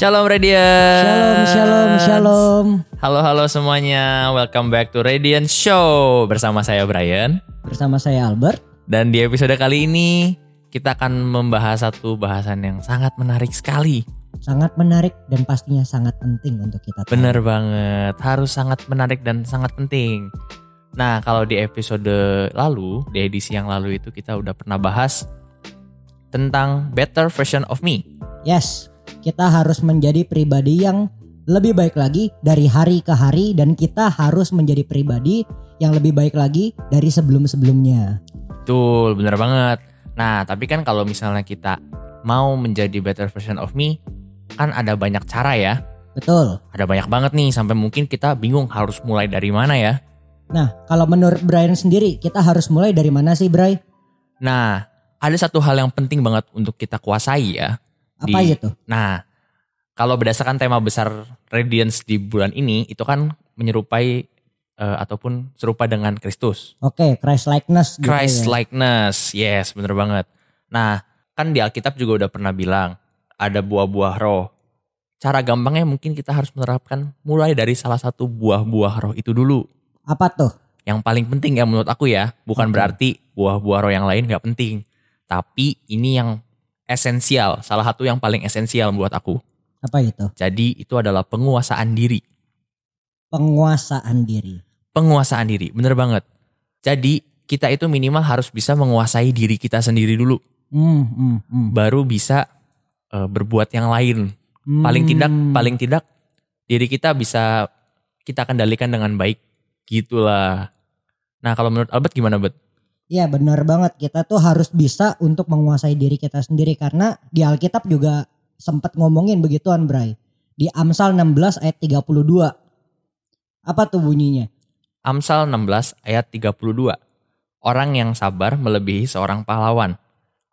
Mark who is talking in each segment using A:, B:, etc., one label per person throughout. A: Shalom Radian.
B: Shalom, shalom, shalom.
A: Halo halo semuanya. Welcome back to Radian Show bersama saya Brian
B: Bersama saya Albert.
A: dan di episode kali ini kita akan membahas satu bahasan yang sangat menarik sekali.
B: Sangat menarik dan pastinya sangat penting untuk kita. tahu.
A: Bener banget, harus sangat menarik dan sangat penting. Nah, kalau di episode lalu, di edisi yang lalu itu kita udah pernah bahas tentang better version of me.
B: Yes, kita harus menjadi pribadi yang lebih baik lagi dari hari ke hari dan kita harus menjadi pribadi yang lebih baik lagi dari sebelum-sebelumnya.
A: Betul, bener banget. Nah, tapi kan kalau misalnya kita mau menjadi better version of me, kan ada banyak cara ya.
B: Betul.
A: Ada banyak banget nih, sampai mungkin kita bingung harus mulai dari mana ya.
B: Nah, kalau menurut Brian sendiri, kita harus mulai dari mana sih, Bray?
A: Nah, ada satu hal yang penting banget untuk kita kuasai ya.
B: Apa gitu?
A: Di-
B: itu?
A: Nah, kalau berdasarkan tema besar Radiance di bulan ini, itu kan menyerupai eh, ataupun serupa dengan Kristus.
B: Oke, Christ likeness. gitu ya.
A: Christ likeness. Yes, bener banget. Nah, kan di Alkitab juga udah pernah bilang ada buah-buah roh. Cara gampangnya mungkin kita harus menerapkan mulai dari salah satu buah-buah roh itu dulu.
B: Apa tuh?
A: Yang paling penting ya menurut aku ya, bukan
B: Oke.
A: berarti buah-buah roh yang lain nggak penting, tapi ini yang esensial, salah satu yang paling esensial buat aku.
B: Apa itu?
A: Jadi itu adalah penguasaan diri.
B: Penguasaan diri.
A: Penguasaan diri, bener banget. Jadi kita itu minimal harus bisa menguasai diri kita sendiri dulu.
B: Hmm, hmm, hmm.
A: baru bisa eh, berbuat yang lain. Paling tidak,
B: Hmm.
A: paling tidak diri kita bisa kita kendalikan dengan baik gitulah. Nah kalau menurut Albert gimana bet?
B: Iya benar banget kita tuh harus bisa untuk menguasai diri kita sendiri karena di Alkitab juga sempat ngomongin begituan Bray. Di Amsal 16 ayat 32. Apa tuh bunyinya?
A: Amsal 16 ayat 32. Orang yang sabar melebihi seorang pahlawan.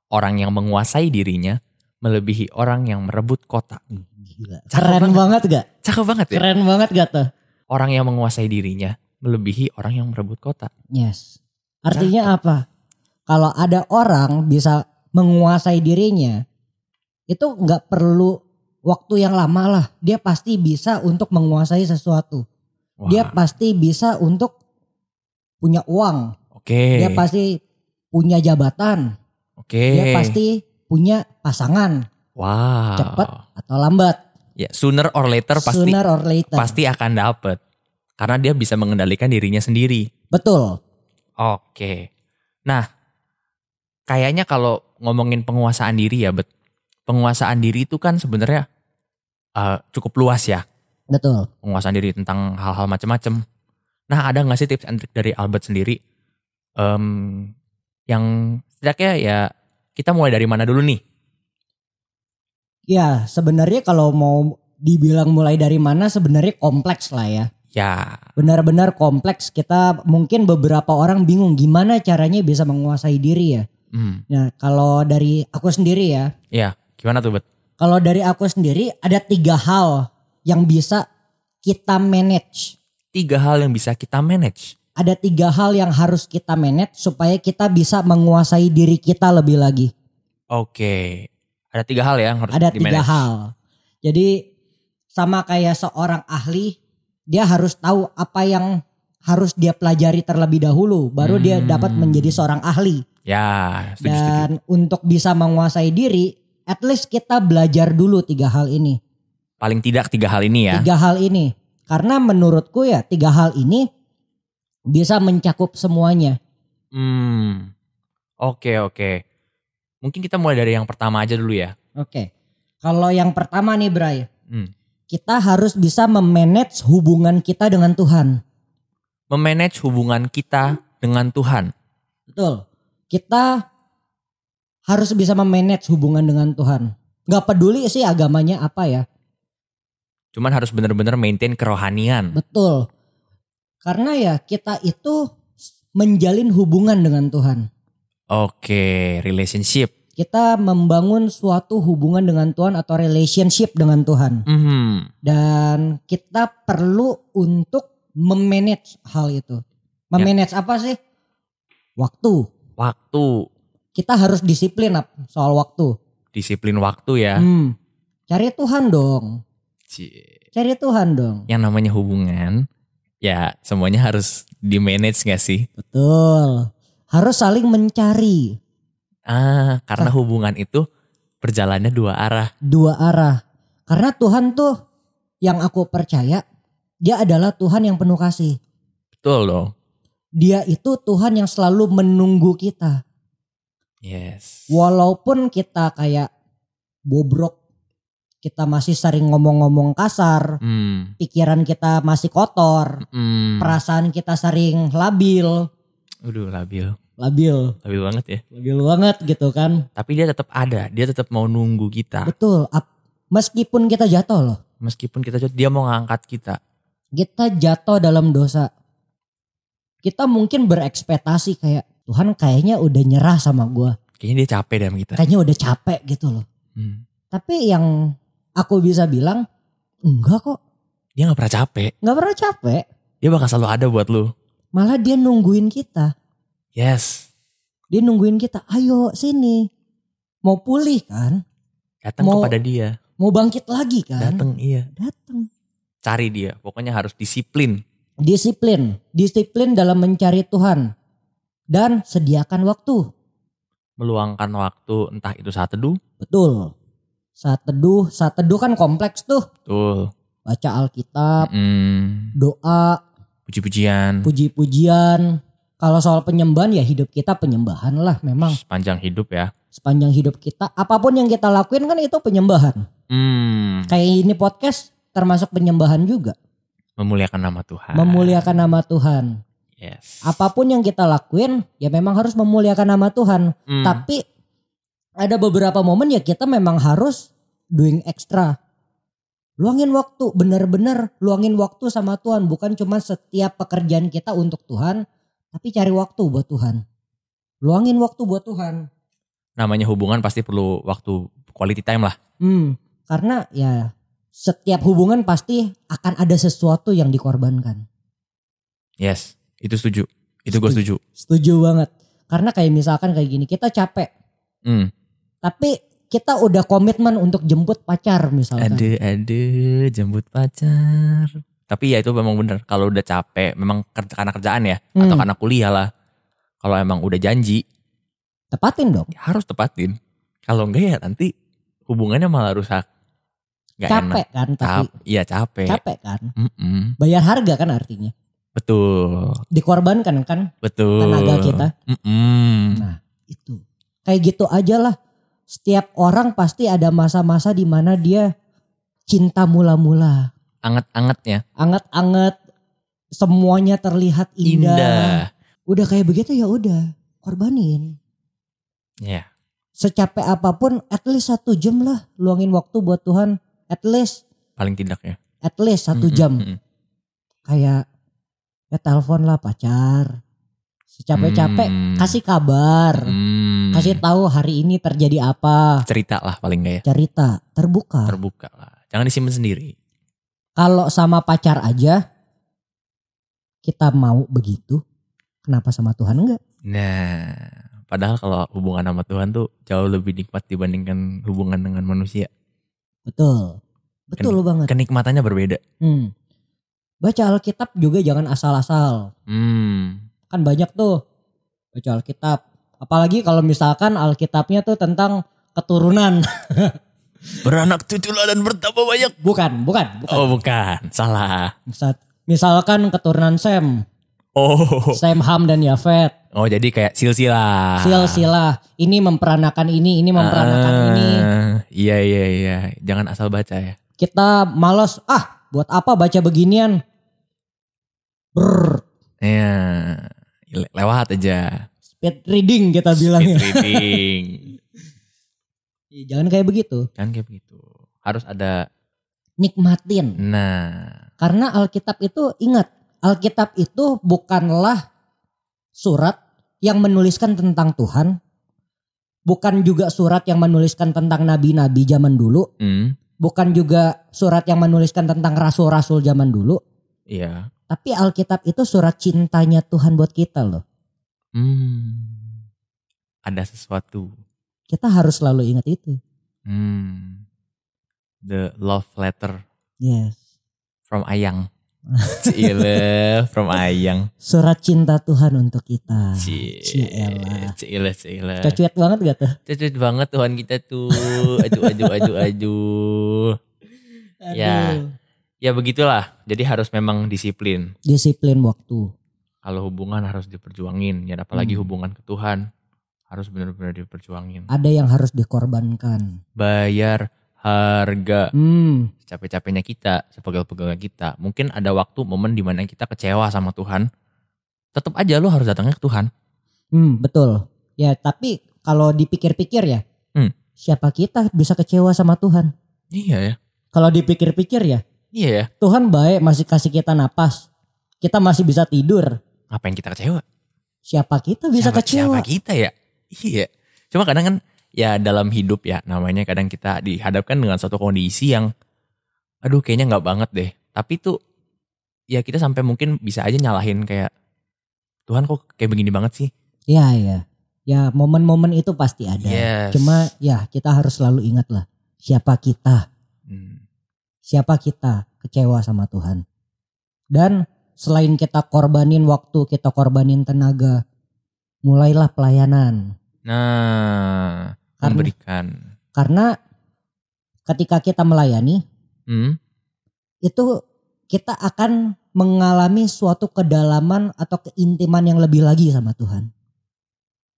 A: Orang yang menguasai dirinya melebihi orang yang merebut kota.
B: Ih, Gila.
A: Cakep
B: Keren banget gak?
A: Cakep banget ya.
B: Keren banget gak tuh?
A: Orang yang menguasai dirinya melebihi orang yang merebut kota.
B: Yes. Artinya apa? Kalau ada orang bisa menguasai dirinya itu nggak perlu waktu yang lama lah. Dia pasti bisa untuk menguasai sesuatu.
A: Wah,
B: Dia pasti bisa untuk punya uang.
A: Oke.
B: dia pasti punya jabatan,
A: Oke.
B: dia pasti punya pasangan
A: Wow.
B: Cepet. atau lambat,
A: Ya, sooner or later pasti
B: sooner or later.
A: pasti akan dapet karena dia bisa mengendalikan dirinya sendiri.
B: Betul.
A: Oke. Nah, kayaknya kalau ngomongin penguasaan diri ya, bet. Penguasaan diri itu kan sebenarnya eh, cukup luas ya.
B: Betul.
A: Penguasaan diri tentang hal-hal macam-macam. Nah, ada nggak sih tips and trick dari Albert sendiri Em, yang setidaknya ya kita mulai dari mana dulu nih?
B: Ya, sebenarnya kalau mau dibilang mulai dari mana sebenarnya kompleks lah ya.
A: Ya,
B: Benar-benar kompleks. Kita mungkin beberapa orang bingung gimana caranya bisa menguasai diri ya.
A: hmm,
B: Nah, kalau dari aku sendiri ya,
A: gimana tuh, bet?
B: kalau dari aku sendiri ada tiga hal yang bisa kita manage.
A: Tiga hal yang bisa kita manage.
B: ada tiga hal yang harus kita manage supaya kita bisa menguasai diri kita lebih lagi.
A: Oke, ada tiga hal ya yang harus
B: Ada tiga
A: di-manage.
B: hal. Jadi sama kayak seorang ahli, dia harus tahu apa yang harus dia pelajari terlebih dahulu, baru dia
A: Hmm.
B: dapat menjadi seorang ahli.
A: Ya, setuju, setuju.
B: Dan untuk bisa menguasai diri, at least kita belajar dulu tiga hal ini.
A: Paling tidak tiga hal ini ya.
B: Tiga hal ini, karena menurutku ya tiga hal ini bisa mencakup semuanya.
A: Hmm. Oke, oke. Mungkin kita mulai dari yang pertama aja dulu ya.
B: Oke, kalau yang pertama nih Bray,
A: Hmm.
B: kita harus bisa memanage hubungan kita dengan Tuhan.
A: Memanage hubungan kita dengan Tuhan.
B: Betul. Kita harus bisa memanage hubungan dengan Tuhan. Gak peduli sih agamanya apa ya.
A: Cuman harus benar-benar maintain kerohanian.
B: Betul. Karena ya kita itu menjalin hubungan dengan Tuhan.
A: Oke, relationship.
B: Kita membangun suatu hubungan dengan Tuhan atau relationship dengan Tuhan.
A: Mhm.
B: Dan kita perlu untuk memanage hal itu. Memanage apa sih? Waktu.
A: Waktu,
B: Kita harus disiplin Ap, soal waktu.
A: disiplin waktu ya.
B: Hmm. Cari Tuhan dong.
A: Cie.
B: Cari Tuhan dong.
A: Yang namanya hubungan, ya semuanya harus di manage gak sih?
B: Betul. Harus saling mencari
A: Ah,
B: Nah.
A: karena hubungan itu berjalannya dua arah.
B: dua arah. Karena Tuhan tuh yang aku percaya dia adalah Tuhan yang penuh kasih.
A: Betul dong.
B: Dia itu Tuhan yang selalu menunggu kita.
A: Yes.
B: Walaupun kita kayak bobrok, kita masih sering ngomong-ngomong kasar,
A: Hmm.
B: pikiran kita masih kotor,
A: Hmm.
B: perasaan kita sering labil,
A: Aduh, labil.
B: labil,
A: Labil banget ya.
B: labil banget gitu kan.
A: Tapi dia tetap ada, dia tetap mau nunggu kita.
B: Betul. ap- Meskipun kita jatuh loh,
A: Meskipun kita jatuh, dia mau ngangkat kita.
B: kita jatuh dalam dosa. Kita mungkin berekspektasi kayak Tuhan kayaknya udah nyerah sama gua,
A: Kayaknya dia capek dengan kita.
B: kayaknya udah capek gitu loh.
A: Hmm.
B: Tapi yang aku bisa bilang enggak kok,
A: Dia gak pernah capek.
B: nggak pernah capek.
A: Dia bakal selalu ada buat lu.
B: Malah dia nungguin kita,
A: Yes.
B: dia nungguin kita. Ayo sini, mau pulih kan,
A: Datang
B: Mau-
A: kepada dia.
B: mau bangkit lagi kan.
A: Datang iya.
B: Datang.
A: Cari dia. Pokoknya harus disiplin.
B: Disiplin, disiplin dalam mencari Tuhan dan sediakan waktu.
A: Meluangkan waktu entah itu saat teduh.
B: Betul. Saat teduh, saat teduh kan kompleks tuh.
A: Betul.
B: Baca Alkitab,
A: Hmm.
B: doa,
A: Puji-pujian.
B: puji-pujian. Kalau soal penyembahan ya hidup kita penyembahan lah memang.
A: Sepanjang hidup ya.
B: Sepanjang hidup kita apapun yang kita lakuin kan itu penyembahan.
A: Hmm.
B: Kayak ini podcast termasuk penyembahan juga.
A: Memuliakan nama Tuhan.
B: Memuliakan nama Tuhan.
A: Yes.
B: Apapun yang kita lakuin ya memang harus memuliakan nama Tuhan.
A: Hmm.
B: Tapi ada beberapa momen ya kita memang harus doing extra. Luangin waktu, benar-benar luangin waktu sama Tuhan, bukan cuma setiap pekerjaan kita untuk Tuhan, tapi cari waktu buat Tuhan. Luangin waktu buat Tuhan.
A: namanya hubungan pasti perlu waktu quality time lah.
B: Hmm, karena ya setiap hubungan pasti akan ada sesuatu yang dikorbankan.
A: Yes. Itu setuju. Itu gue setuju.
B: Setuju banget. Karena kayak misalkan kayak gini, kita capek,
A: Hmm.
B: tapi kita udah komitmen untuk jemput pacar misalkan.
A: Ada ada jemput pacar. Tapi ya itu memang bener kalau udah capek memang ker- karena kerjaan ya atau
B: Hmm,
A: karena kuliah lah. Kalau emang udah janji
B: tepatin dong.
A: ya harus tepatin. Kalau enggak ya nanti hubungannya malah rusak. Gak enak.
B: capek kan tapi
A: Cap- iya capek.
B: capek kan
A: Mm-mm.
B: bayar harga kan artinya
A: Betul.
B: dikorbankan kan
A: Betul.
B: tenaga kita
A: Mm-mm.
B: nah itu kayak gitu aja lah setiap orang pasti ada masa-masa di mana dia cinta mula-mula
A: Anget-angetnya
B: anget-anget semuanya terlihat indah.
A: indah.
B: udah kayak begitu ya udah korbanin
A: Ya.
B: secapek apapun at least satu jam lah luangin waktu buat Tuhan at least
A: Paling tidak ya.
B: at least satu
A: Mm-mm,
B: jam
A: mm-mm.
B: kayak ya telepon lah pacar secapek-capek
A: Hmm.
B: kasih kabar
A: Hmm.
B: kasih tahu hari ini terjadi apa
A: cerita lah paling enggak ya
B: cerita terbuka
A: terbuka lah jangan disimpan sendiri
B: kalau sama pacar aja kita mau begitu kenapa sama Tuhan enggak
A: nah padahal kalau hubungan sama Tuhan tuh jauh lebih nikmat dibandingkan hubungan dengan manusia
B: betul betul banget
A: kenikmatannya berbeda
B: Hmm. baca Alkitab juga jangan asal-asal
A: hmm
B: kan banyak tuh baca Alkitab apalagi kalau misalkan Alkitabnya tuh tentang keturunan
A: beranak cuculah dan bertambah banyak
B: bukan bukan bukan
A: oh bukan salah
B: Misal- misalkan keturunan Sam
A: oh
B: Sam Ham dan Yafet
A: oh jadi kayak silsilah
B: silsilah ini memperanakan ini ini memperanakan
A: Ah,
B: ini
A: iya iya iya jangan asal baca ya
B: kita malas ah buat apa baca beginian Brrr,
A: Iya. Le- lewat aja
B: speed reading kita bilangnya
A: Speed reading
B: Ih, jangan kayak begitu
A: kan kayak begitu harus ada
B: nikmatin
A: nah
B: karena Alkitab itu ingat Alkitab itu bukanlah surat yang menuliskan tentang Tuhan bukan juga surat yang menuliskan tentang nabi-nabi zaman dulu
A: Hmm,
B: bukan juga surat yang menuliskan tentang rasul-rasul zaman dulu,
A: iya.
B: tapi Alkitab itu surat cintanya Tuhan buat kita loh.
A: Hmm. Ada sesuatu.
B: Kita harus selalu ingat itu.
A: Hmm. the love letter
B: Yes.
A: from Ayang. Cile from Ayang.
B: Surat cinta Tuhan untuk kita.
A: Cie. Eh.
B: Cielah.
A: Cile, cile.
B: Cucuet banget gak tuh?
A: Cucut banget Tuhan kita tuh. Aduh, aduh, aduh, aduh. Ya.
B: Aduh.
A: Ya begitulah. Jadi harus memang disiplin.
B: Disiplin waktu.
A: Kalau hubungan harus diperjuangin. Ya apalagi
B: Hmm.
A: hubungan ke Tuhan. Harus benar-benar diperjuangin.
B: Ada yang harus dikorbankan.
A: Bayar harga.
B: Hmm.
A: Capek-capeknya kita. Sepegel-pegelnya kita. Mungkin ada waktu, momen dimana kita kecewa sama Tuhan. Tetap aja lu harus datangnya ke Tuhan.
B: Hmm, betul. Ya, tapi kalau dipikir-pikir ya,
A: Hmm.
B: siapa kita bisa kecewa sama Tuhan?
A: Iya ya.
B: Kalau dipikir-pikir ya,
A: Iya ya.
B: Tuhan baik masih kasih kita napas. Kita masih bisa tidur.
A: Ngapain kita kecewa?
B: Siapa kita bisa
A: siapa,
B: kecewa?
A: siapa kita ya? Iya. Cuma kadang kan ya dalam hidup ya namanya kadang kita dihadapkan dengan suatu kondisi yang aduh kayaknya nggak banget deh. Tapi tuh ya kita sampai mungkin bisa aja nyalahin kayak Tuhan kok kayak begini banget sih?
B: Ya, ya. Ya, momen-momen itu pasti ada.
A: Yes.
B: Cuma ya kita harus selalu ingat lah, siapa kita?
A: Hmm,
B: Siapa kita kecewa sama Tuhan? Dan selain kita korbanin waktu, kita korbanin tenaga, mulailah pelayanan.
A: Nah,
B: Karena-
A: memberikan.
B: Karena ketika kita melayani,
A: Hmm,
B: itu kita akan mengalami suatu kedalaman atau keintiman yang lebih lagi sama Tuhan.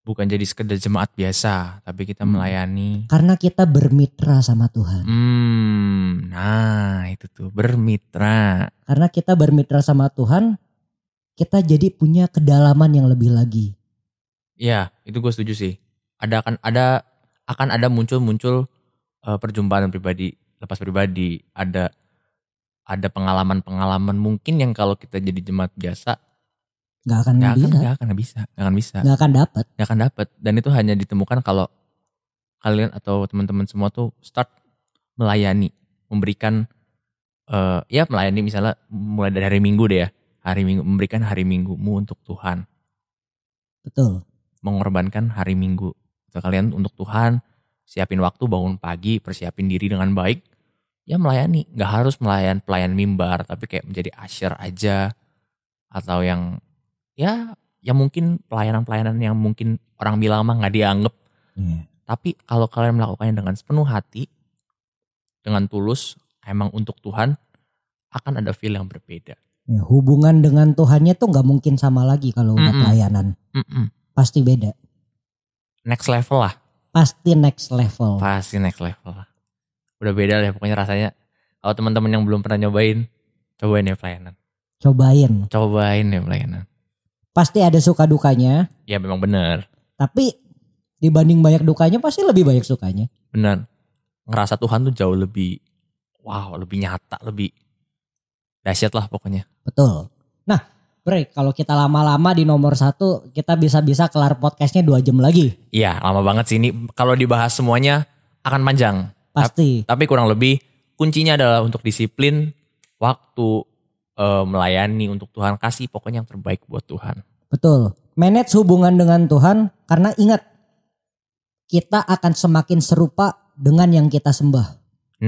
A: bukan jadi sekedar jemaat biasa, tapi kita
B: Hmm.
A: melayani.
B: Karena kita bermitra sama Tuhan.
A: Hmm, nah itu tuh bermitra.
B: Karena kita bermitra sama Tuhan, kita jadi punya kedalaman yang lebih lagi.
A: Iya, itu gue setuju sih. Ada akan ada akan ada muncul-muncul eh, perjumpaan pribadi, lepas pribadi, ada ada pengalaman-pengalaman mungkin yang kalau kita jadi jemaat biasa
B: Gak akan
A: nggak akan
B: bisa,
A: nggak akan bisa, nggak akan bisa,
B: gak akan dapat.
A: nggak akan dapet. Dan itu hanya ditemukan kalau kalian atau teman-teman semua tuh start melayani, memberikan eh, ya melayani misalnya mulai dari hari Minggu deh ya, hari Minggu memberikan hari Minggumu untuk Tuhan.
B: Betul.
A: mengorbankan hari Minggu. Untuk kalian untuk Tuhan, siapin waktu bangun pagi, persiapin diri dengan baik. Ya melayani, nggak harus melayan pelayan mimbar, tapi kayak menjadi asher aja atau yang ya yang mungkin pelayanan-pelayanan yang mungkin orang bilang mah nggak dianggap. Tapi kalau kalian melakukannya dengan sepenuh hati, dengan tulus, emang untuk Tuhan, akan ada feel yang berbeda.
B: Ya, hubungan dengan Tuhannya tuh gak mungkin sama lagi kalau udah
A: Mm-mm.
B: pelayanan.
A: Mm-mm.
B: Pasti beda.
A: Next level lah.
B: Pasti next level.
A: Pasti next level lah. Udah beda lah ya, pokoknya rasanya. Kalau teman-teman yang belum pernah nyobain, cobain ya pelayanan.
B: Cobain.
A: Cobain ya pelayanan.
B: Pasti ada suka dukanya.
A: Ya memang bener.
B: Tapi dibanding banyak dukanya pasti lebih banyak sukanya.
A: Bener. Ngerasa Tuhan tuh jauh lebih, wow lebih nyata, lebih dahsyat lah pokoknya.
B: Betul. Nah, Bre, kalau kita lama-lama di nomor satu, kita bisa-bisa kelar podcastnya dua jam lagi.
A: Iya lama banget sih ini. Kalau dibahas semuanya akan panjang.
B: Pasti.
A: Tapi kurang lebih kuncinya adalah untuk disiplin, waktu, eh, melayani untuk Tuhan. Kasih pokoknya yang terbaik buat Tuhan.
B: Betul. Manage hubungan dengan Tuhan karena ingat, kita akan semakin serupa dengan yang kita sembah.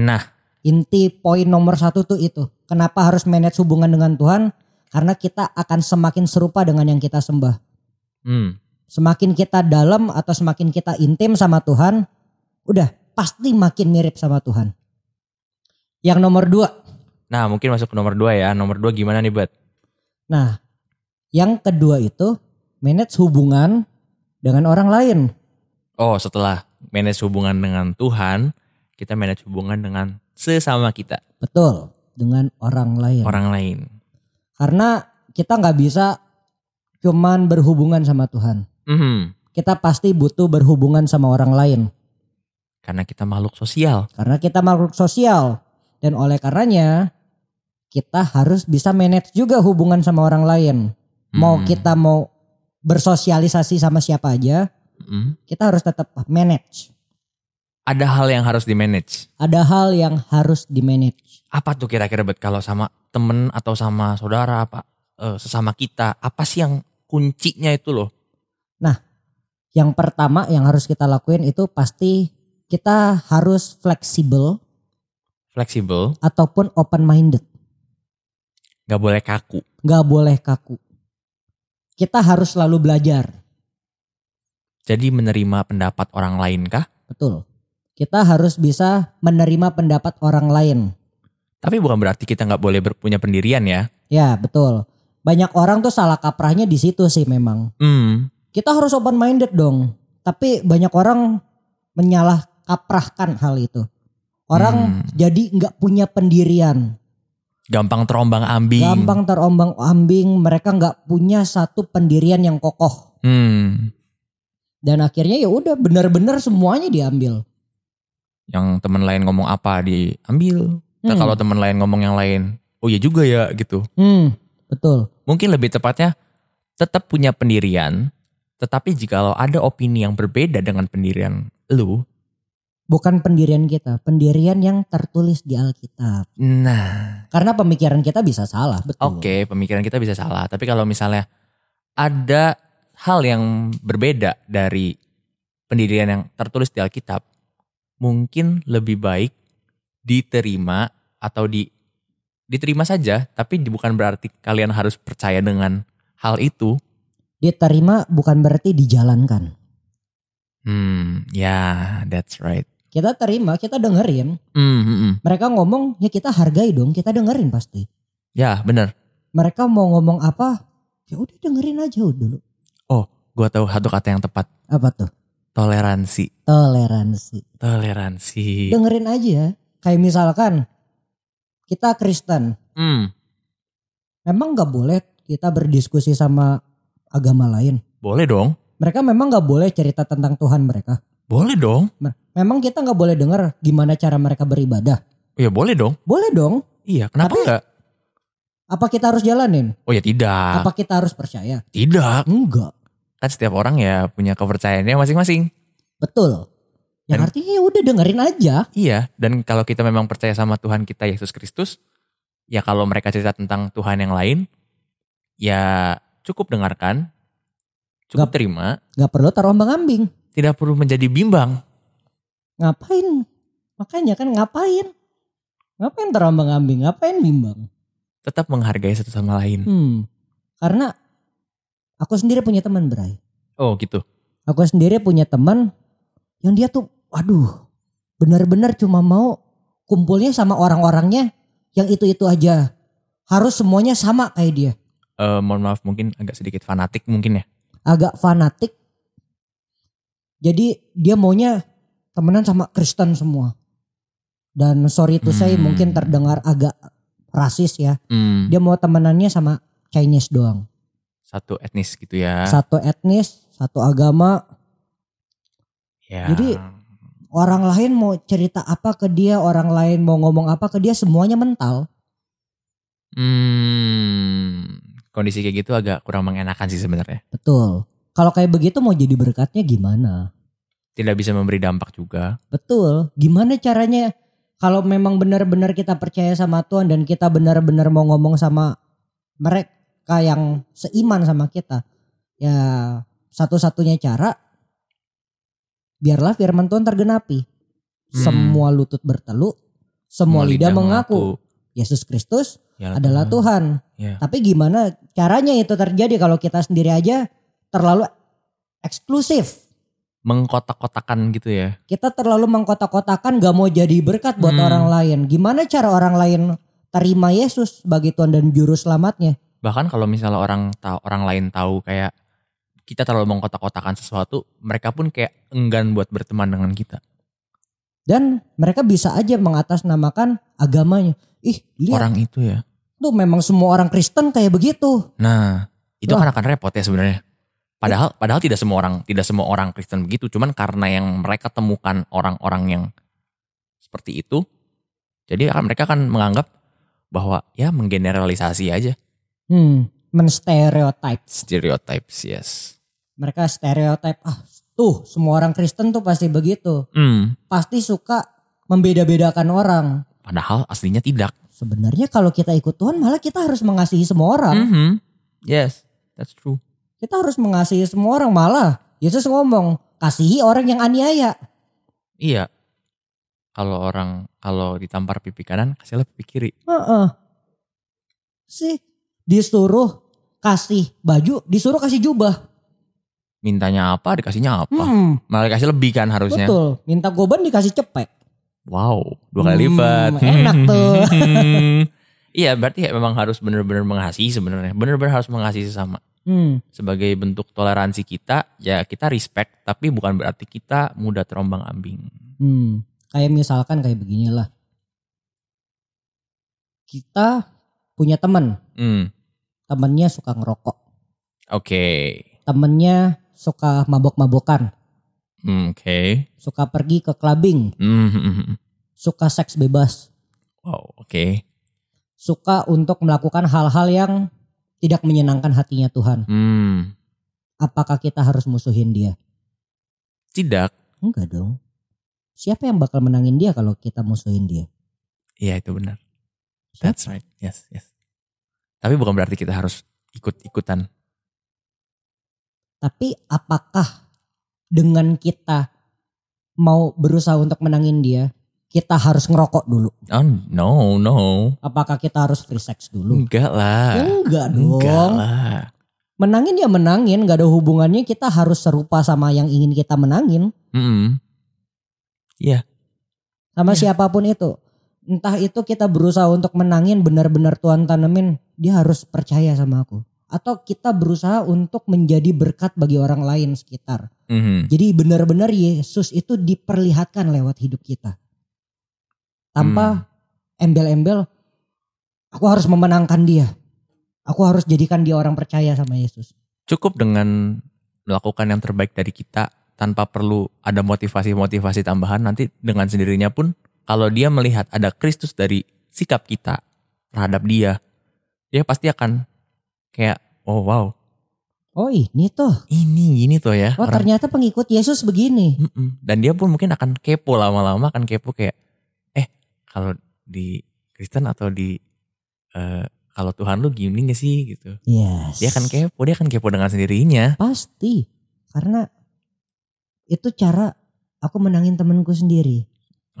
A: Nah,
B: Inti poin nomor satu tuh itu. Kenapa harus manage hubungan dengan Tuhan? Karena kita akan semakin serupa dengan yang kita sembah.
A: hmm,
B: Semakin kita dalam atau semakin kita intim sama Tuhan, udah pasti makin mirip sama Tuhan. Yang nomor dua,
A: nah mungkin masuk ke nomor dua ya. Nomor dua gimana nih, Bat?
B: Nah, yang kedua itu manage hubungan dengan orang lain.
A: Oh, setelah manage hubungan dengan Tuhan, kita manage hubungan dengan sesama kita,
B: Betul, dengan orang lain.
A: orang lain.
B: Karena kita nggak bisa cuman berhubungan sama Tuhan.
A: Mhm,
B: Kita pasti butuh berhubungan sama orang lain.
A: Karena kita makhluk sosial.
B: Karena kita makhluk sosial. Dan oleh karenanya, kita harus bisa manage juga hubungan sama orang lain.
A: Hmm,
B: Mau kita mau bersosialisasi sama siapa aja,
A: mhm.
B: kita harus tetap manage.
A: Ada hal yang harus di-manage.
B: Ada hal yang harus di-manage.
A: Apa tuh kira-kira Bet kalau sama temen atau sama saudara apa eh, sesama kita, apa sih yang kuncinya itu loh?
B: yang pertama yang harus kita lakuin itu pasti kita harus fleksibel
A: fleksibel,
B: ataupun open minded.
A: nggak boleh kaku.
B: Gak boleh kaku. Kita harus selalu belajar.
A: Jadi menerima pendapat orang lain kah?
B: Betul. Kita harus bisa menerima pendapat orang lain.
A: Tapi bukan berarti kita nggak boleh ber- punya pendirian ya.
B: Ya, betul. Banyak orang tuh salah kaprahnya di situ sih memang.
A: Hmm,
B: kita harus open minded dong. Tapi banyak orang menyalah kaprahkan hal itu. Orang
A: Hmm.
B: jadi nggak punya pendirian,
A: gampang terombang ambing.
B: gampang terombang ambing. Mereka nggak punya satu pendirian yang kokoh.
A: Hmm,
B: Dan akhirnya ya udah benar-benar semuanya diambil.
A: yang teman lain ngomong apa diambil. Nah,
B: Hmm.
A: kalau teman lain ngomong yang lain, oh iya juga ya gitu.
B: Hmm, betul.
A: Mungkin lebih tepatnya tetap punya pendirian, tetapi jikalau ada opini yang berbeda dengan pendirian lu,
B: Bukan pendirian kita, pendirian yang tertulis di Alkitab.
A: nah
B: Karena pemikiran kita bisa salah, betul.
A: Oke, pemikiran kita bisa salah. Tapi kalau misalnya ada hal yang berbeda dari pendirian yang tertulis di Alkitab, mungkin lebih baik diterima atau di diterima saja, tapi di- bukan berarti kalian harus percaya dengan hal itu.
B: Diterima bukan berarti dijalankan.
A: Hmm, ya, that's right.
B: Kita terima, kita dengerin.
A: Hmm, hmm, hmm.
B: Mereka ngomong, ya kita hargai dong, kita dengerin pasti.
A: ya bener.
B: mereka mau ngomong apa ya udah dengerin aja dulu
A: Gua tahu satu kata yang tepat,
B: apa tuh
A: toleransi.
B: toleransi
A: Toleransi.
B: dengerin aja kayak misalkan kita Kristen
A: Hmm,
B: memang nggak boleh kita berdiskusi sama agama lain
A: boleh dong,
B: mereka memang nggak boleh cerita tentang Tuhan mereka
A: boleh dong.
B: memang kita nggak boleh dengar gimana cara mereka beribadah
A: Ya boleh dong.
B: boleh dong
A: Iya, kenapa
B: Tapi-
A: enggak?
B: apa kita harus jalanin
A: Oh ya tidak.
B: apa kita harus percaya
A: Tidak.
B: enggak
A: Kan setiap orang ya punya kepercayaannya masing-masing.
B: betul yang
A: Dan-
B: artinya ya udah dengerin aja
A: Iya. Dan kalau kita memang percaya sama Tuhan kita Yesus Kristus, ya kalau mereka cerita tentang Tuhan yang lain, ya cukup dengarkan, cukup
B: Gak-
A: terima,
B: nggak perlu terombang ambing
A: tidak perlu menjadi bimbang.
B: ngapain makanya kan ngapain ngapain terombang ambing ngapain bimbang
A: Tetap menghargai satu sama lain.
B: hmm. karena aku sendiri punya teman Bray
A: Oh gitu.
B: aku sendiri punya teman yang dia tuh waduh benar-benar cuma mau kumpulnya sama orang-orangnya yang itu-itu aja harus semuanya sama kayak dia
A: Eh mohon maaf mungkin agak sedikit fanatik mungkin ya.
B: agak fanatik jadi dia maunya temenan sama Kristen semua dan sorry itu saya
A: Hmm.
B: mungkin terdengar agak rasis ya
A: Hmm,
B: dia mau temenannya sama Chinese doang.
A: Satu etnis gitu ya.
B: Satu etnis, satu agama,
A: ya.
B: jadi- orang lain mau cerita apa ke dia, orang lain mau ngomong apa ke dia, semuanya mental.
A: Hmm, kondisi kayak gitu agak kurang mengenakan sih sebenarnya.
B: Betul. Kalau kayak begitu mau jadi berkatnya gimana?
A: Tidak bisa memberi dampak juga.
B: Betul. Gimana caranya kalau memang benar-benar kita percaya sama Tuhan dan kita benar-benar mau ngomong sama mereka yang seiman sama kita. Ya satu-satunya cara biarlah firman Tuhan tergenapi.
A: Hmm.
B: Semua lutut bertelu, semua lidah mengaku Yesus Kristus
A: ialah
B: adalah Tuhan.
A: Ya.
B: Tapi gimana caranya itu terjadi kalau kita sendiri aja terlalu eksklusif.
A: Mengkotak-kotakan gitu ya.
B: kita terlalu mengkotak-kotakan gak mau jadi berkat buat
A: Hmm.
B: orang lain. Gimana cara orang lain terima Yesus sebagai Tuhan dan Juru Selamatnya?
A: Bahkan kalau misalnya orang tahu orang lain tahu kayak kita terlalu mengkotak-kotakan sesuatu, mereka pun kayak enggan buat berteman dengan kita.
B: Dan mereka bisa aja mengatasnamakan agamanya. Ih, lihat
A: Orang itu ya.
B: tuh memang semua orang Kristen kayak begitu.
A: Nah, itu
B: Wah.
A: kan akan repot ya sebenarnya. Padahal padahal tidak semua orang tidak semua orang Kristen begitu, cuman karena yang mereka temukan orang-orang yang seperti itu, jadi akan- mereka akan menganggap bahwa ya menggeneralisasi aja
B: Hmm, menstereotip.
A: stereotypes yes.
B: Mereka stereotip. Ah, tuh semua orang Kristen tuh pasti begitu.
A: Hmm,
B: Pasti suka membeda-bedakan orang.
A: padahal aslinya tidak.
B: Sebenarnya kalau kita ikut Tuhan malah kita harus mengasihi semua orang.
A: Mhm. Yes, that's true.
B: Kita harus mengasihi semua orang malah Yesus ngomong kasihi orang yang aniaya.
A: Iya. kalau orang kalau ditampar pipi kanan kasihlah pipi kiri.
B: Heeh. Sih disuruh kasih baju, disuruh kasih jubah.
A: Mintanya apa dikasihnya apa?
B: Hmm,
A: Malah dikasih lebih kan harusnya.
B: betul. Minta goban dikasih cepek.
A: Wow, dua kali
B: Hmm,
A: lipat.
B: enak tuh.
A: Iya, berarti ya memang harus benar-benar mengasihi sebenarnya. Benar-benar harus mengasihi sesama.
B: Hmm,
A: Sebagai bentuk toleransi kita, ya kita respect, tapi bukan berarti kita mudah terombang ambing.
B: hmm. Kayak misalkan kayak beginilah. Kita punya teman,
A: Hmm,
B: temennya suka ngerokok,
A: oke.
B: temennya suka mabok-mabokan,
A: Hmm, oke.
B: suka pergi ke clubbing,
A: Hmm, hmm, hmm, hmm.
B: suka seks bebas,
A: wow, oke.
B: suka untuk melakukan hal-hal yang tidak menyenangkan hatinya Tuhan.
A: Hmm,
B: Apakah kita harus musuhin dia?
A: tidak.
B: Enggak dong. Siapa yang bakal menangin dia kalau kita musuhin dia?
A: Iya, itu benar. That's right. Yes, yes. Tapi bukan berarti kita harus ikut-ikutan.
B: Tapi apakah dengan kita mau berusaha untuk menangin dia, kita harus ngerokok dulu?
A: Oh, no, no.
B: Apakah kita harus free sex dulu?
A: Enggak
B: Ya
A: lah.
B: enggak dong.
A: Enggak lah.
B: Menangin ya menangin, gak ada hubungannya kita harus serupa sama yang ingin kita menangin.
A: Mm-mm.
B: Sama
A: Iya.
B: siapapun itu. Entah itu kita berusaha untuk menangin benar-benar Tuhan tanemin, dia harus percaya sama aku. Atau kita berusaha untuk menjadi berkat bagi orang lain sekitar.
A: Mhm.
B: Jadi benar-benar Yesus itu diperlihatkan lewat hidup kita. Tanpa
A: Hmm.
B: embel-embel, aku harus memenangkan dia. Aku harus jadikan dia orang percaya sama Yesus.
A: Cukup dengan melakukan yang terbaik dari kita tanpa perlu ada motivasi-motivasi tambahan nanti dengan sendirinya pun kalau dia melihat ada Kristus dari sikap kita terhadap dia, dia pasti akan kayak oh wow
B: Oh ini tuh,
A: ini gini tuh ya
B: oh
A: orang."
B: ternyata pengikut Yesus begini.
A: Mm-mm. dan dia pun mungkin akan kepo lama-lama akan kepo kayak eh kalau di Kristen atau di eh, kalau Tuhan lu gini gak sih gitu
B: Yes.
A: dia akan kepo dia akan kepo dengan sendirinya
B: Pasti, karena itu cara aku menangin temanku sendiri.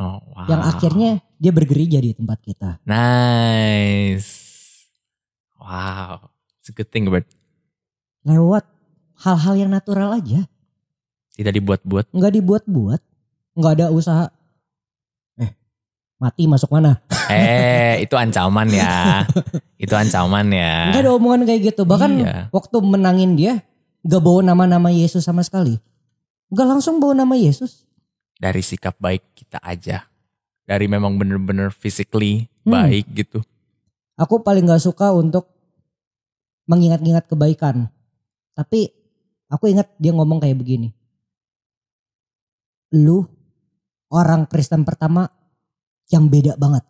A: oh wow
B: Yang akhirnya dia bergereja di tempat kita.
A: Nice. Wow. It's a good thing but
B: Lewat hal-hal yang natural aja.
A: tidak dibuat-buat.
B: nggak dibuat-buat, nggak ada usaha. Eh, mati masuk mana?
A: eh, itu ancaman ya. itu ancaman ya.
B: Nggak ada omongan kayak gitu. Bahkan
A: Iya.
B: waktu menangin dia, nggak bawa nama-nama Yesus sama sekali. Nggak langsung bawa nama Yesus.
A: Dari sikap baik kita aja. Dari memang bener-bener physically
B: Hmm.
A: baik gitu.
B: Aku paling nggak suka untuk mengingat-ingat kebaikan. Tapi aku ingat dia ngomong kayak begini. Lu orang Kristen pertama yang beda banget.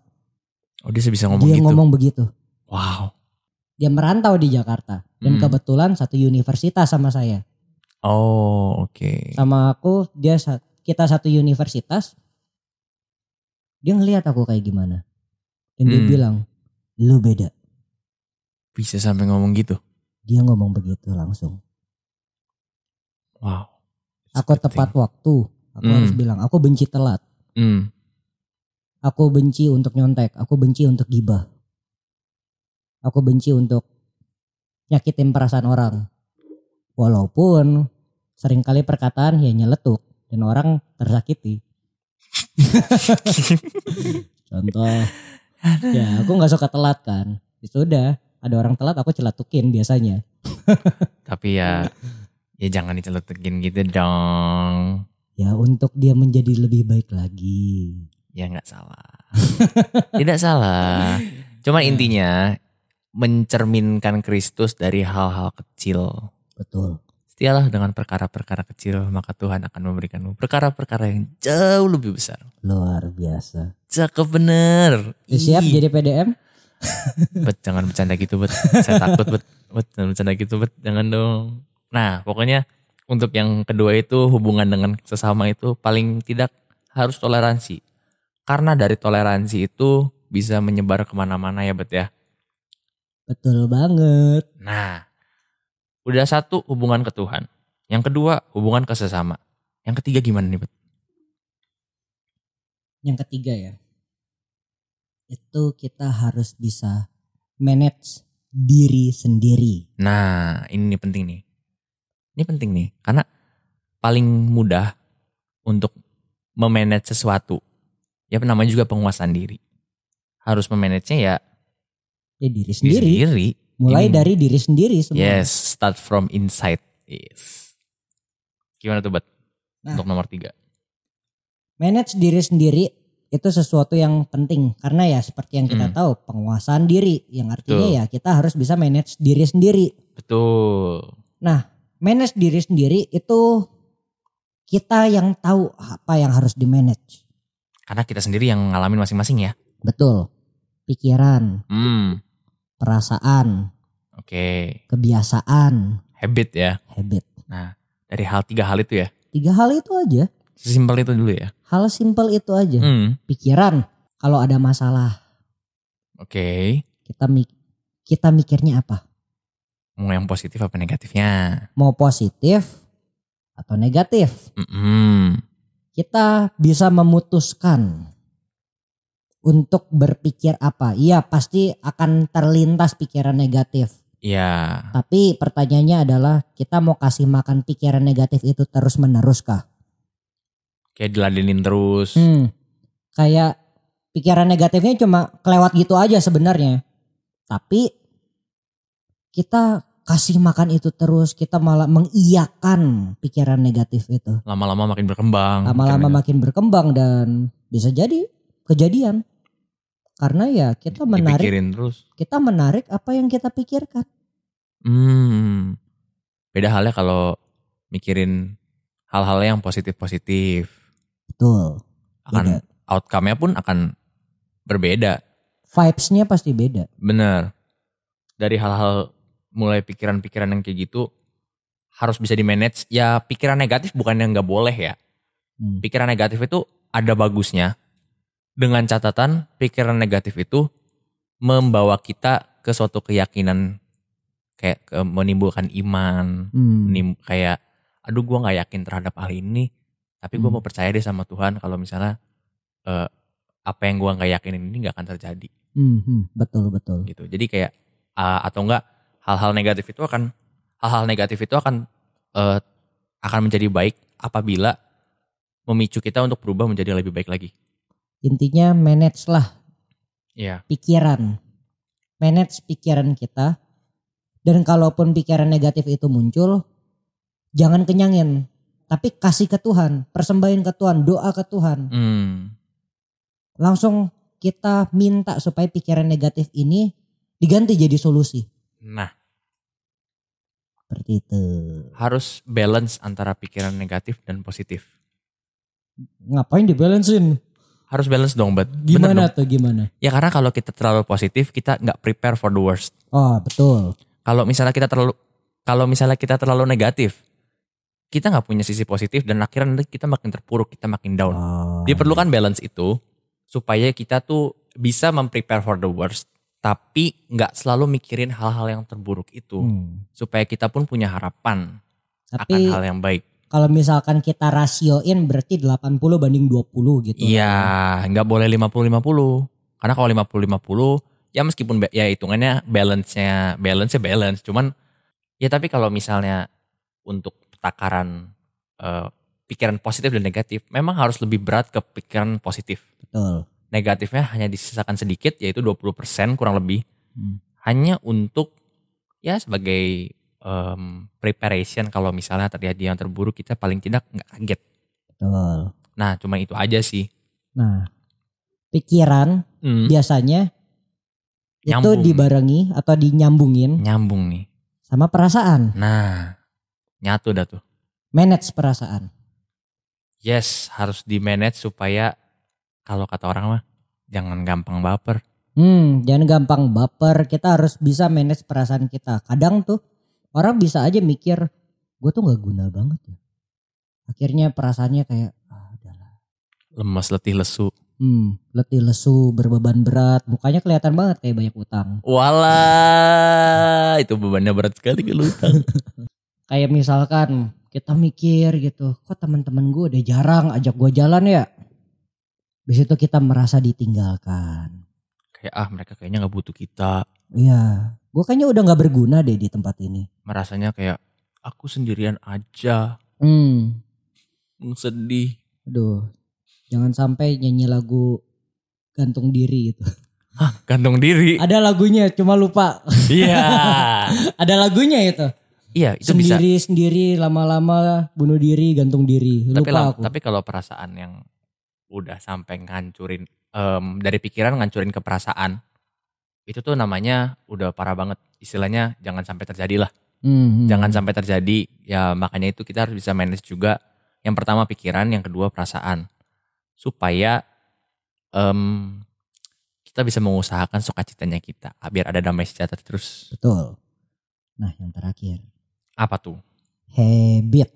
A: Oh dia bisa ngomong
B: dia
A: gitu.
B: ngomong begitu.
A: Wow.
B: Dia merantau di Jakarta. Dan
A: Hmm.
B: kebetulan satu universitas sama saya.
A: Oh oke.
B: sama aku dia sa- kita satu universitas dia ngelihat aku kayak gimana dan dia
A: Hmm.
B: bilang lu beda
A: Bisa sampai ngomong gitu.
B: dia ngomong begitu langsung
A: Wow. It's a
B: aku
A: good
B: tepat
A: thing.
B: waktu aku
A: Hmm.
B: harus bilang aku benci telat
A: Hmm.
B: aku benci untuk nyontek aku benci untuk gibah aku benci untuk nyakitin perasaan orang walaupun seringkali perkataan ya nyeletuk dan orang tersakiti contoh ya aku nggak suka telat kan ya sudah ada orang telat aku celatukin biasanya
A: Tapi ya ya jangan diceletekin gitu dong.
B: ya untuk dia menjadi lebih baik lagi
A: ya nggak salah tidak salah
B: Hmm.
A: cuman intinya mencerminkan Kristus dari hal-hal kecil
B: betul
A: setialah dengan perkara-perkara kecil maka Tuhan akan memberikanmu perkara-perkara yang jauh lebih besar
B: luar biasa
A: cakep bener
B: Ya, siap
A: Ih,
B: jadi PDM
A: Bet, jangan bercanda gitu bet saya takut bet Bet, jangan bercanda gitu bet jangan dong nah pokoknya untuk yang kedua itu hubungan dengan sesama itu paling tidak harus toleransi karena dari toleransi itu bisa menyebar kemana-mana ya bet ya
B: betul banget
A: Nah, udah satu hubungan ke Tuhan. Yang kedua hubungan ke sesama. Yang ketiga gimana nih, Bet?
B: Yang ketiga ya. Itu kita harus bisa manage diri sendiri.
A: Nah, ini nih penting nih. Ini penting nih karena paling mudah untuk memanage sesuatu. Ya namanya juga penguasaan diri. Harus memanagenya ya
B: Ya
A: diri
B: diri sendiri.
A: sendiri.
B: Mulai
A: Ini.
B: dari diri sendiri semua.
A: Yes, start from inside. Yes. Gimana tuh, Bat?
B: Nah.
A: Untuk nomor tiga.
B: Manage diri sendiri itu sesuatu yang penting karena ya seperti yang kita
A: Hmm.
B: tahu penguasaan diri yang artinya
A: Betul.
B: ya kita harus bisa manage diri sendiri.
A: Betul.
B: Manage diri sendiri itu kita yang tahu apa yang harus di manage.
A: Karena kita sendiri yang ngalamin masing-masing ya.
B: Betul. Pikiran,
A: Hmm.
B: perasaan,
A: Oke.
B: kebiasaan,
A: Habit ya.
B: habit.
A: Dari hal tiga hal itu ya.
B: Tiga hal itu aja.
A: Sesimpel itu dulu ya.
B: Hal simpel itu aja.
A: Hmm.
B: Pikiran, kalau ada masalah,
A: Oke.
B: kita mi- kita mikirnya apa?
A: Mau yang positif apa negatifnya?
B: Mau positif atau negatif?
A: Hmm.
B: Kita bisa memutuskan untuk berpikir apa. Iya, pasti akan terlintas pikiran negatif.
A: Ya.
B: Tapi pertanyaannya adalah kita mau kasih makan pikiran negatif itu terus menerus kah?
A: Kayak diladenin terus.
B: Hmm. Kayak pikiran negatifnya cuma kelewat gitu aja sebenarnya. Tapi kita kasih makan itu terus, kita malah mengiyakan pikiran negatif itu.
A: Hmm, Lama-lama makin berkembang.
B: Lama-lama
A: Makin
B: makin berkembang dan bisa jadi kejadian. Karena ya kita menarik,
A: Dipikirin terus.
B: kita menarik apa yang kita pikirkan.
A: Hmm. Beda halnya kalau mikirin hal-hal yang positif-positif.
B: Betul.
A: Akan
B: Beda.
A: outcome-nya pun akan berbeda.
B: Vibes-nya pasti beda.
A: Bener. Dari hal-hal mulai pikiran-pikiran yang kayak gitu harus bisa di manage. Ya pikiran negatif bukan yang nggak boleh ya.
B: Hmm.
A: Pikiran negatif itu ada bagusnya. Dengan catatan pikiran negatif itu membawa kita ke suatu keyakinan kayak ke- menimbulkan iman,
B: Hmm.
A: menim- kayak aduh gua nggak yakin terhadap hal ini, tapi gua
B: Hmm.
A: mau percaya deh sama Tuhan kalau misalnya eh, apa yang gua nggak yakinin ini nggak akan terjadi
B: Hmm, hmm, betul betul.
A: gitu. Jadi kayak uh, atau enggak hal-hal negatif itu akan hal-hal negatif itu akan uh, akan menjadi baik apabila memicu kita untuk berubah menjadi lebih baik lagi.
B: Intinya manage lah
A: Iya.
B: pikiran. Manage pikiran kita. Dan kalaupun pikiran negatif itu muncul, jangan kenyangin. Tapi kasih ke Tuhan, persembahin ke Tuhan, doa ke Tuhan.
A: Hmm.
B: Langsung kita minta supaya pikiran negatif ini diganti jadi solusi.
A: Nah,
B: Seperti itu.
A: harus balance antara pikiran negatif dan positif.
B: Ngapain dibalancein?
A: Harus balance dong, Bat. Bener
B: Gimana
A: dong.
B: tuh gimana?
A: Ya karena kalau kita terlalu positif, kita nggak prepare for the worst.
B: Oh betul.
A: Kalau misalnya kita terlalu kalau misalnya kita terlalu negatif, kita nggak punya sisi positif dan akhirnya nanti kita makin terpuruk, kita makin down.
B: Oh.
A: Diperlukan balance itu supaya kita tuh bisa memprepare for the worst, tapi nggak selalu mikirin hal-hal yang terburuk itu,
B: Hmm.
A: supaya kita pun punya harapan akan
B: Tapi
A: hal yang baik.
B: kalau misalkan kita rasioin berarti 80 banding 20 gitu.
A: Iya, nggak boleh 50-50. Karena kalau 50-50, ya meskipun ba- ya hitungannya balance-nya balance-nya balance, cuman ya tapi kalau misalnya untuk takaran eh, pikiran positif dan negatif, memang harus lebih berat ke pikiran positif.
B: Betul.
A: negatifnya hanya disisakan sedikit yaitu 20% kurang lebih
B: Hmm.
A: hanya untuk ya sebagai em, preparation kalau misalnya terjadi yang terburuk kita paling tidak nggak kaget.
B: Betul.
A: Nah, cuma itu aja sih.
B: Nah, pikiran
A: Hmm,
B: biasanya
A: Nyambung. Hmm.
B: itu dibarengi atau dinyambungin
A: nyambung nih.
B: sama perasaan.
A: Nah, nyatu dah tuh.
B: Manage perasaan.
A: Yes, harus di manage supaya kalau kata orang mah jangan gampang baper.
B: Hmm, jangan gampang baper. Kita harus bisa manage perasaan kita. Kadang tuh orang bisa aja mikir, gue tuh nggak guna banget ya. Akhirnya perasaannya kayak, ah, udahlah.
A: Lemes, letih, lesu.
B: Hmm, letih lesu, berbeban berat, mukanya kelihatan banget kayak banyak utang.
A: Wala, itu bebannya berat sekali kalau utang.
B: kayak misalkan kita mikir gitu kok teman-teman gue udah jarang ajak gue jalan ya Di situ kita merasa ditinggalkan.
A: Kayak ah mereka kayaknya nggak butuh kita.
B: Iya, gue kayaknya udah nggak berguna deh di tempat ini.
A: Merasanya kayak aku sendirian aja.
B: Hmm,
A: Hmm, Sedih.
B: aduh, jangan sampai nyanyi lagu gantung diri gitu.
A: Gantung diri.
B: Ada lagunya, cuma lupa.
A: Iya.
B: Ada lagunya itu.
A: Iya itu bisa.
B: sendiri sendiri lama-lama bunuh diri, gantung diri. Lupa
A: tapi lam-
B: aku.
A: tapi kalau perasaan yang udah sampai ngancurin em, dari pikiran ngancurin ke perasaan itu tuh namanya udah parah banget istilahnya jangan sampai terjadi lah
B: Hmm, hmm.
A: jangan sampai terjadi ya makanya itu kita harus bisa manage juga yang pertama pikiran yang kedua perasaan supaya em, kita bisa mengusahakan sukacitanya kita Ah, biar ada damai sejahtera terus
B: Betul. Nah, yang terakhir,
A: apa tuh
B: habit.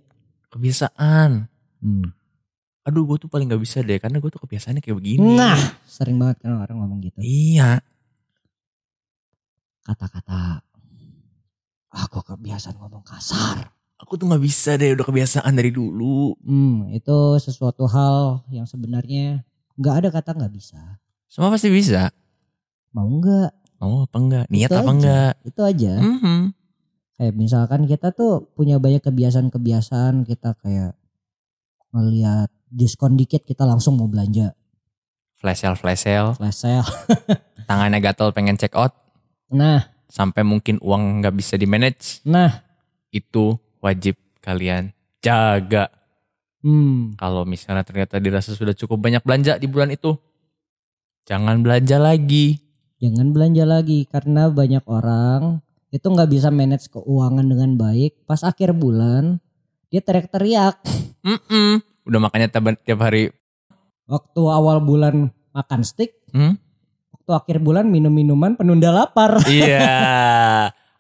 A: kebiasaan
B: Hmm.
A: aduh gue tuh paling gak bisa deh karena gue tuh kebiasaannya kayak begini
B: Nah, sering banget kan orang ngomong gitu.
A: iya
B: Kata-kata aku kebiasaan ngomong kasar.
A: aku tuh nggak bisa deh udah kebiasaan dari dulu
B: Hmm, itu sesuatu hal yang sebenarnya nggak ada kata nggak bisa.
A: semua pasti bisa
B: Mau nggak?
A: mau apa enggak niat
B: Itu
A: apa
B: aja.
A: enggak
B: Itu aja.
A: Mhm.
B: Kayak misalkan kita tuh punya banyak kebiasaan-kebiasaan kita kayak ngelihat diskon dikit kita langsung mau belanja.
A: flash sale flash sale
B: Flash sale.
A: tangannya gatel pengen check out
B: Nah,
A: sampai mungkin uang nggak bisa di manage
B: nah.
A: itu wajib kalian jaga
B: Hmm,
A: kalau misalnya ternyata dirasa sudah cukup banyak belanja di bulan itu jangan belanja lagi
B: jangan belanja lagi karena banyak orang itu nggak bisa manage keuangan dengan baik. Pas akhir bulan dia teriak-teriak.
A: Mm-mm. udah makanya tiap, tiap hari
B: Waktu awal bulan makan steak,
A: Hmm?
B: waktu akhir bulan minum minuman penunda lapar.
A: iya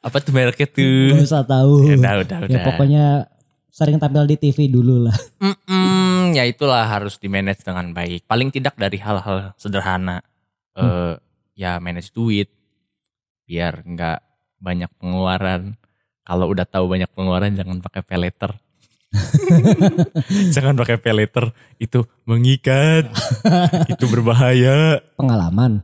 A: apa tuh mereknya
B: Gak
A: tuh
B: usah tahu.
A: ya
B: Ya,
A: udah udah udah
B: pokoknya sering tampil di TV dulu lah.
A: Mm-mm, ya itulah harus di manage dengan baik. Paling tidak dari hal-hal sederhana, eh ya manage duit, biar nggak banyak pengeluaran. Kalau udah tahu banyak pengeluaran, jangan pakai peleter. jangan pakai peleter, itu mengikat, itu berbahaya.
B: Pengalaman.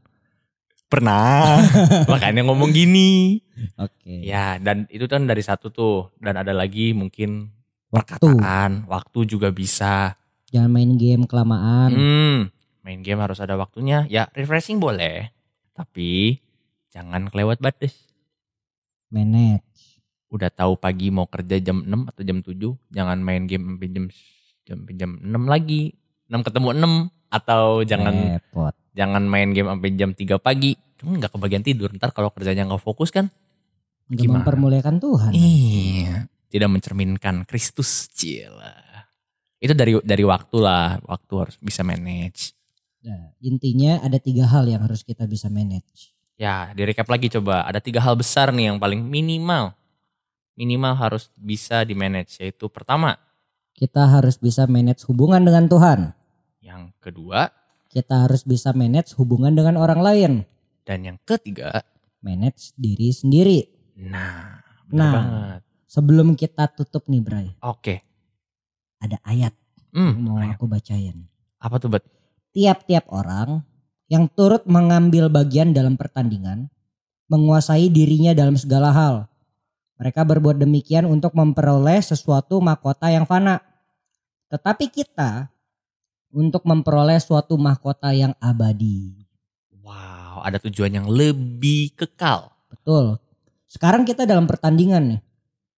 A: Pernah, makanya ngomong gini.
B: Oke.
A: Ya, dan itu kan dari satu tuh, dan ada lagi mungkin
B: waktu.
A: perkataan, waktu juga bisa.
B: Jangan main game kelamaan.
A: Hmm, main game harus ada waktunya. Ya refreshing boleh, tapi jangan kelewat batas.
B: Manage.
A: Udah tahu pagi mau kerja jam 6 atau jam 7, jangan main game sampai jam sampai jam 6 lagi. 6 ketemu 6 atau jangan
B: Repot.
A: jangan main game sampai jam 3 pagi. Kamu nggak kebagian tidur ntar kalau kerjanya nggak fokus kan?
B: Nggak
A: Gimana?
B: mempermuliakan Tuhan.
A: Iya, tidak mencerminkan Kristus, cila. Itu dari dari waktu lah, waktu harus bisa manage.
B: Nah, intinya ada tiga hal yang harus kita bisa manage.
A: Ya, di recap lagi coba. Ada tiga hal besar nih yang paling minimal. Minimal harus bisa di-manage. Yaitu pertama,
B: Kita harus bisa manage hubungan dengan Tuhan.
A: yang kedua,
B: Kita harus bisa manage hubungan dengan orang lain.
A: dan yang ketiga.
B: Manage diri sendiri.
A: Nah, bener
B: Nah.
A: banget.
B: Sebelum kita tutup nih Bray,
A: Oke.
B: ada ayat
A: Hmm,
B: yang mau
A: ayo.
B: aku bacain.
A: Apa tuh, Bet?
B: Tiap-tiap orang yang turut mengambil bagian dalam pertandingan, menguasai dirinya dalam segala hal. Mereka berbuat demikian untuk memperoleh sesuatu mahkota yang fana. Tetapi kita untuk memperoleh suatu mahkota yang abadi.
A: Wow, ada tujuan yang lebih kekal.
B: Betul. Sekarang kita dalam pertandingan nih.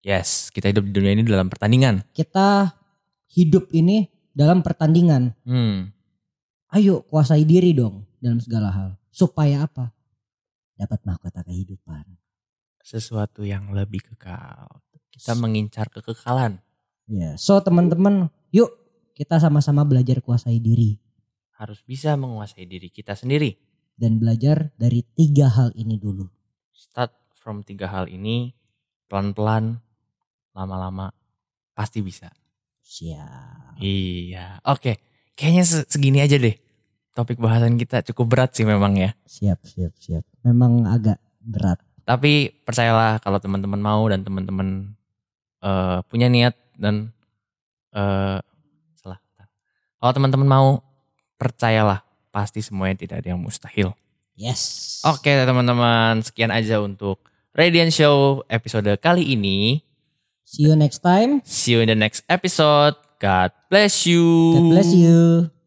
A: Yes, kita hidup di dunia ini dalam pertandingan.
B: Kita hidup ini dalam pertandingan.
A: Hmm,
B: Ayo kuasai diri dong dalam segala hal. Supaya apa? Dapat mahkota kehidupan.
A: sesuatu yang lebih kekal. Kita mengincar kekekalan.
B: Ya. So teman-teman, yuk kita sama-sama belajar kuasai diri
A: Harus bisa menguasai diri kita sendiri.
B: dan belajar dari tiga hal ini dulu.
A: start from tiga hal ini pelan-pelan lama-lama pasti bisa
B: Siap.
A: iya oke kayaknya se- segini aja deh topik bahasan kita cukup berat sih memang ya
B: Siap, siap, siap. Memang agak berat.
A: tapi percayalah kalau teman-teman mau dan teman-teman eh, punya niat dan eh salah kalau teman-teman mau percayalah pasti semuanya tidak ada yang mustahil.
B: Yes.
A: Oke teman-teman, sekian aja untuk Radiant Show episode kali ini.
B: See you next time.
A: See you in the next episode. God bless you.
B: God bless you.